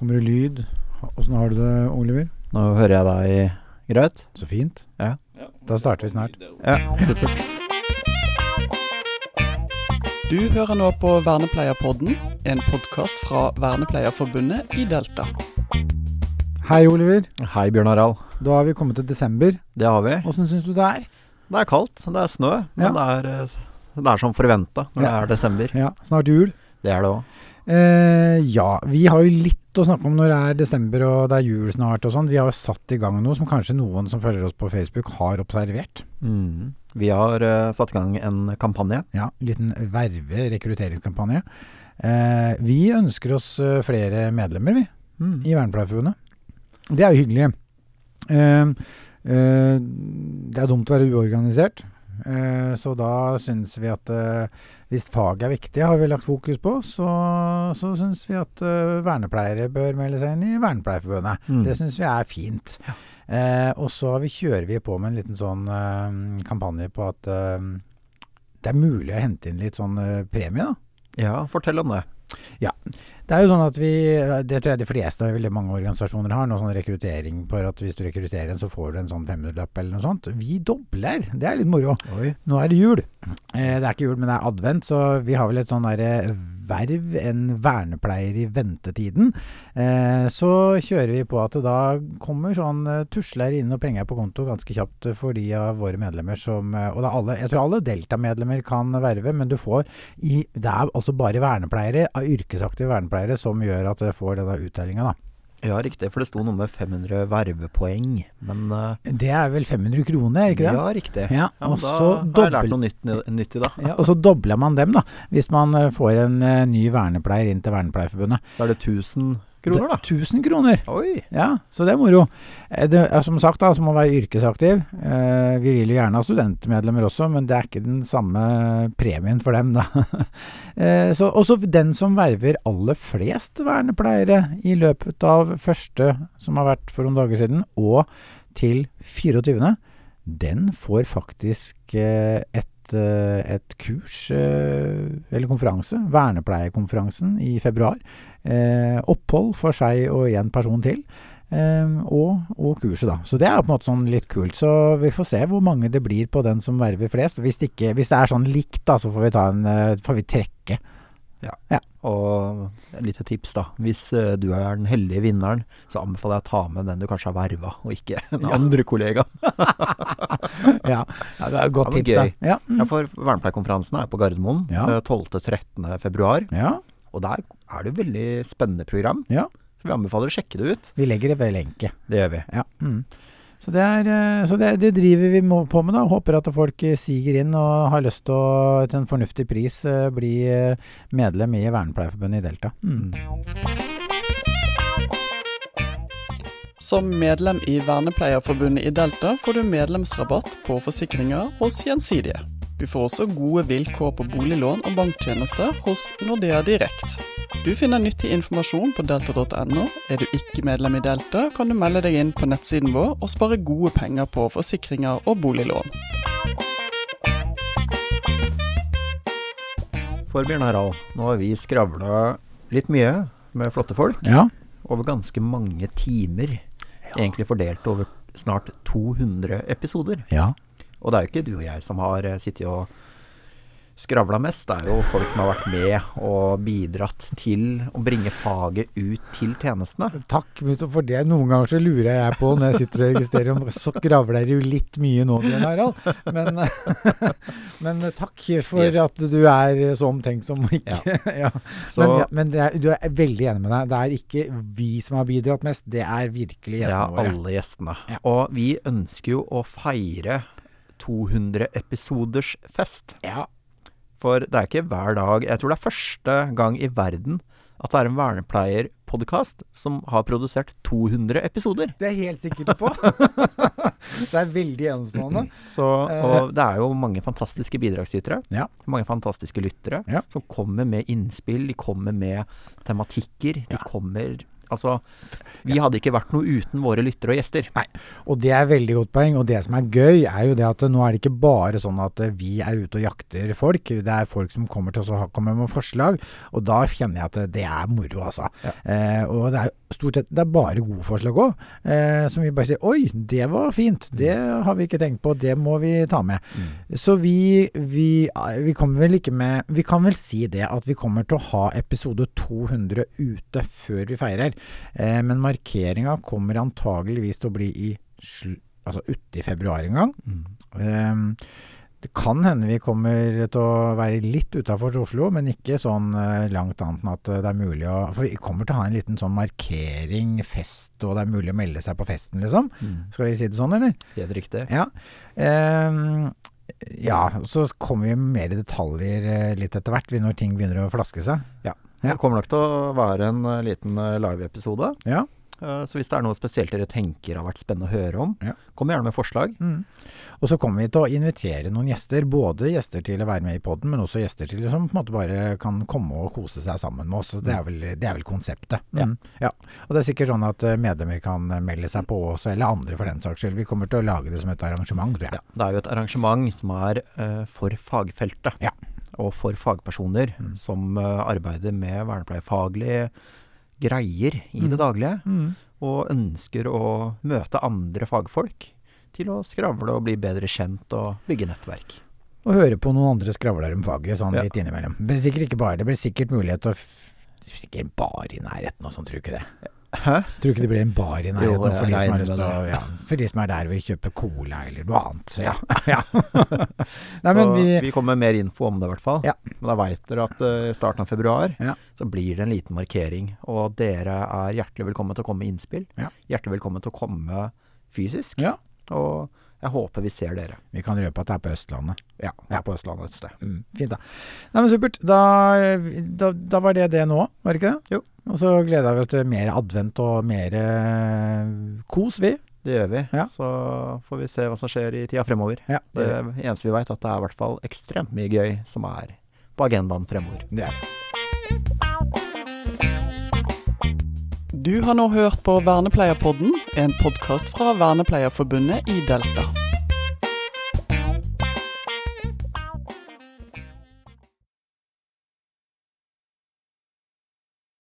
Kommer det lyd? Åssen har du det, Oliver? Nå hører jeg deg greit. Så fint. Ja. Da starter vi snart. Ja, supert. Du hører nå på Vernepleierpodden, en podkast fra Vernepleierforbundet i Delta. Hei, Oliver. Hei, Bjørn Harald. Da har vi kommet til desember. Det har vi. Åssen syns du det er? Det er kaldt, det er snø, men det, er, eh, det er som forventa når det Ja. er desember. Ja, snart jul. Det er det òg. Eh, ja, vi har jo litt å snakke om når det er desember og det er jul snart og sånn. Vi har jo satt i gang noe som kanskje noen som følger oss på Facebook har observert. Mm. Vi har eh, satt i gang en kampanje. Ja, liten verve rekrutteringskampanje. Eh, vi ønsker oss eh, flere medlemmer, vi. Mm. i Vernepleierforbundet. Det er jo hyggelig. Ehm, eh, det er dumt å være uorganisert, eh, så da syns vi at eh, hvis fag er viktig, har vi lagt fokus på, så, så syns vi at eh, vernepleiere bør melde seg inn i Vernepleierforbundet. Mm. Det syns vi er fint. Eh, og så har vi, kjører vi på med en liten sånn eh, kampanje på at eh, det er mulig å hente inn litt sånn eh, premie, da. Ja, fortell om det. Det er jo sånn at vi, det tror jeg de fleste og veldig mange organisasjoner har, noe sånn rekruttering for at hvis du rekrutterer en, så får du en sånn 500-lapp eller noe sånt. Vi dobler, det er litt moro. Oi. Nå er det jul. Eh, det er ikke jul, men det er advent, så vi har vel et sånn derre verv, en vernepleier i ventetiden. Eh, så kjører vi på at det da kommer sånn eh, tusler inn og penger på konto ganske kjapt for de av våre medlemmer som eh, Og det er alle, jeg tror alle Delta-medlemmer kan verve, men du får i Det er altså bare vernepleiere, av yrkesaktive vernepleiere, som gjør at du får denne uttellinga, da. Ja, riktig, for det sto noe med 500 vervepoeng, men eh, Det er vel 500 kroner, ikke det? Ja, riktig. Ja, Ja, og men da så har jeg lært dobbel- noe nytt, nytt i dag. Ja, og så dobler man dem, da. Hvis man eh, får en eh, ny vernepleier inn til Vernepleierforbundet. Da er det 1000 kroner, da. Det- 1000 kroner. Oi. Ja, så det er moro. Eh, Det, er som sagt, da, så må man være yrkesaktiv. Eh, vi vil jo gjerne ha studentmedlemmer også, men det er ikke den samme premien for dem, da. eh, så også den som verver aller flest vernepleiere i løpet av første, som har vært for noen dager siden, og til 24., den får faktisk eh, et, eh, et kurs, eh, eller konferanse, vernepleierkonferansen i februar. Eh, opphold for seg og én person til. Eh, og, og kurset, da. Så det er på en måte sånn litt kult. Så vi får se hvor mange det blir på den som verver flest. Hvis det, ikke, hvis det er sånn likt, da, så får vi, ta en, eh, får vi trekke. Og et lite tips, da. Hvis eh, du er den heldige vinneren, så anbefaler jeg å ta med den du kanskje har verva, og ikke den andre kollegaen. Ja, ja det er et godt Ja, men tips, gøy. da. Ja, Ja, mm. for vernepleierkonferansen er på Gardermoen Ja. eh, 12.-13. februar, ja, og der er det jo veldig spennende program. Ja. Så vi anbefaler å sjekke det ut. vi legger det ved lenke. Det gjør vi. Ja. Mm. Så, det, er, eh, så det, det driver vi må- på med, da. Håper at folk eh, siger inn og har lyst til å til en fornuftig pris eh, bli eh, medlem i Vernepleierforbundet i Delta. Mm. Som medlem i Vernepleierforbundet i Delta får du medlemsrabatt på forsikringer hos Gjensidige. Du får også gode vilkår på boliglån og banktjenester hos Nordea Direkt. Du finner nyttig informasjon på delta.no. Er du ikke medlem i Delta, kan du melde deg inn på nettsiden vår og spare gode penger på forsikringer og boliglån. For Bjørn Harald, nå har vi skravla litt mye med flotte folk Ja. over ganske mange timer. Egentlig fordelt over snart 200 episoder. ja. Og det er jo ikke du og jeg som har eh, sittet og skravla mest, det er jo folk som har vært med og bidratt til å bringe faget ut til tjenestene. Takk for det. Noen ganger så lurer jeg på når jeg sitter og registrerer om Så gravler det jo litt mye nå, Bjørn Harald. Men, men takk for Yes. at du er så omtenksom og ikke ja. Så Men, ja, men det er, du er veldig enig med deg. Det er ikke vi som har bidratt mest, det er virkelig gjestene ja, våre. alle gjestene. Ja. Og vi ønsker jo å feire 200 episoders fest. Ja, For det er ikke hver dag Jeg tror det er første gang i verden at det er en vernepleierpodkast som har produsert 200 episoder. Det er jeg helt sikker på. det er veldig enestående. Så, og det er jo mange fantastiske bidragsytere. Eh. Ja. Mange fantastiske lyttere Ja. som kommer med innspill, de kommer med tematikker. De kommer Altså, vi hadde ikke vært noe uten våre lyttere og gjester. Og det er veldig godt poeng. Og det som er gøy, er jo det at nå er det ikke bare sånn at eh, vi er ute og jakter folk. Det er folk som kommer til oss og har- kommer med forslag. Og da kjenner jeg at det er moro, altså. Eh, og det er jo stort sett det er bare gode forslag òg, eh, som vi bare sier Oi, det var fint. Det har vi ikke tenkt på. Det må vi ta med. Mm. Så vi, vi, vi kommer vel ikke med Vi kan vel si det at vi kommer til å ha episode 200 ute før vi feirer. Eh, men markeringa kommer antageligvis til å bli i sl altså uti februar en gang. Mm. Ehm, det kan hende vi kommer til å være litt utafor Oslo, men ikke sånn eh, langt annet enn at eh, det er mulig å For vi kommer til å ha en liten sånn markering, fest, og det er mulig å melde seg på festen, liksom. Skal vi si det sånn, eller? Mm. Helt riktig. Ja. Ehm, ja, så kommer vi med mer detaljer eh, litt etter hvert, vi, når ting begynner å flaske seg. Ja. Det kommer nok til å være en eh, liten eh, live-episode. Ja. Eh, Så hvis det er noe spesielt dere tenker har vært spennende å høre om, Ja. kom gjerne med forslag. Mm. Og så kommer vi til å invitere noen gjester, både gjester til å være med i podden, men også gjester til som på en måte bare kan komme og kose seg sammen med oss. Så Det er vel, det er vel konseptet. Ja. Mm. Ja. Og det er sikkert sånn at eh, medlemmer kan melde seg på også, eller andre for den saks skyld. Vi kommer til å lage det som et arrangement, tror jeg. Ja, det er jo et arrangement som er eh, for fagfeltet. Ja. Og for fagpersoner Mm. som eh, arbeider med vernepleiefaglige greier i Mm. det daglige. Mm. Og ønsker å møte andre fagfolk til å skravle og bli bedre kjent og bygge nettverk. Og høre på noen andre skravler om faget sånn Ja. litt innimellom. Det blir sikkert ikke bare, det blir sikkert mulighet til å f- Sikkert bar i nærheten og sånn, tror du ikke det? Hæ? Tror du ikke det blir en bar i Jo, nærheten og for, de som jeg har regner lyst med til å, ja, for de som er der og kjøper cola eller noe annet. Så ja. ja. Nei, Så men vi, vi kommer med mer info om det, i hvert fall. Ja. Men da veit dere at eh, i starten av februar Ja. så blir det en liten markering. Og dere er hjertelig velkommen til å komme med innspill. Ja. Hjertelig velkommen til å komme fysisk. Ja. Og jeg håper vi ser dere. Vi kan røpe at det er på Østlandet. Ja, Ja. på Østlandet et sted. Mm, fint, da. Nei, men supert. Da, da, da var det det nå, var det ikke det? Jo. Og så gleder vi oss til mer advent og mer eh, kos, vi. Det gjør vi. Ja. Så får vi se hva som skjer i tida fremover. Ja, Det eneste vi veit, at det er i hvert fall ekstremt mye gøy som er på agendaen fremover. det er Du har nå hørt på Vernepleierpodden, en podkast fra Vernepleierforbundet i Delta.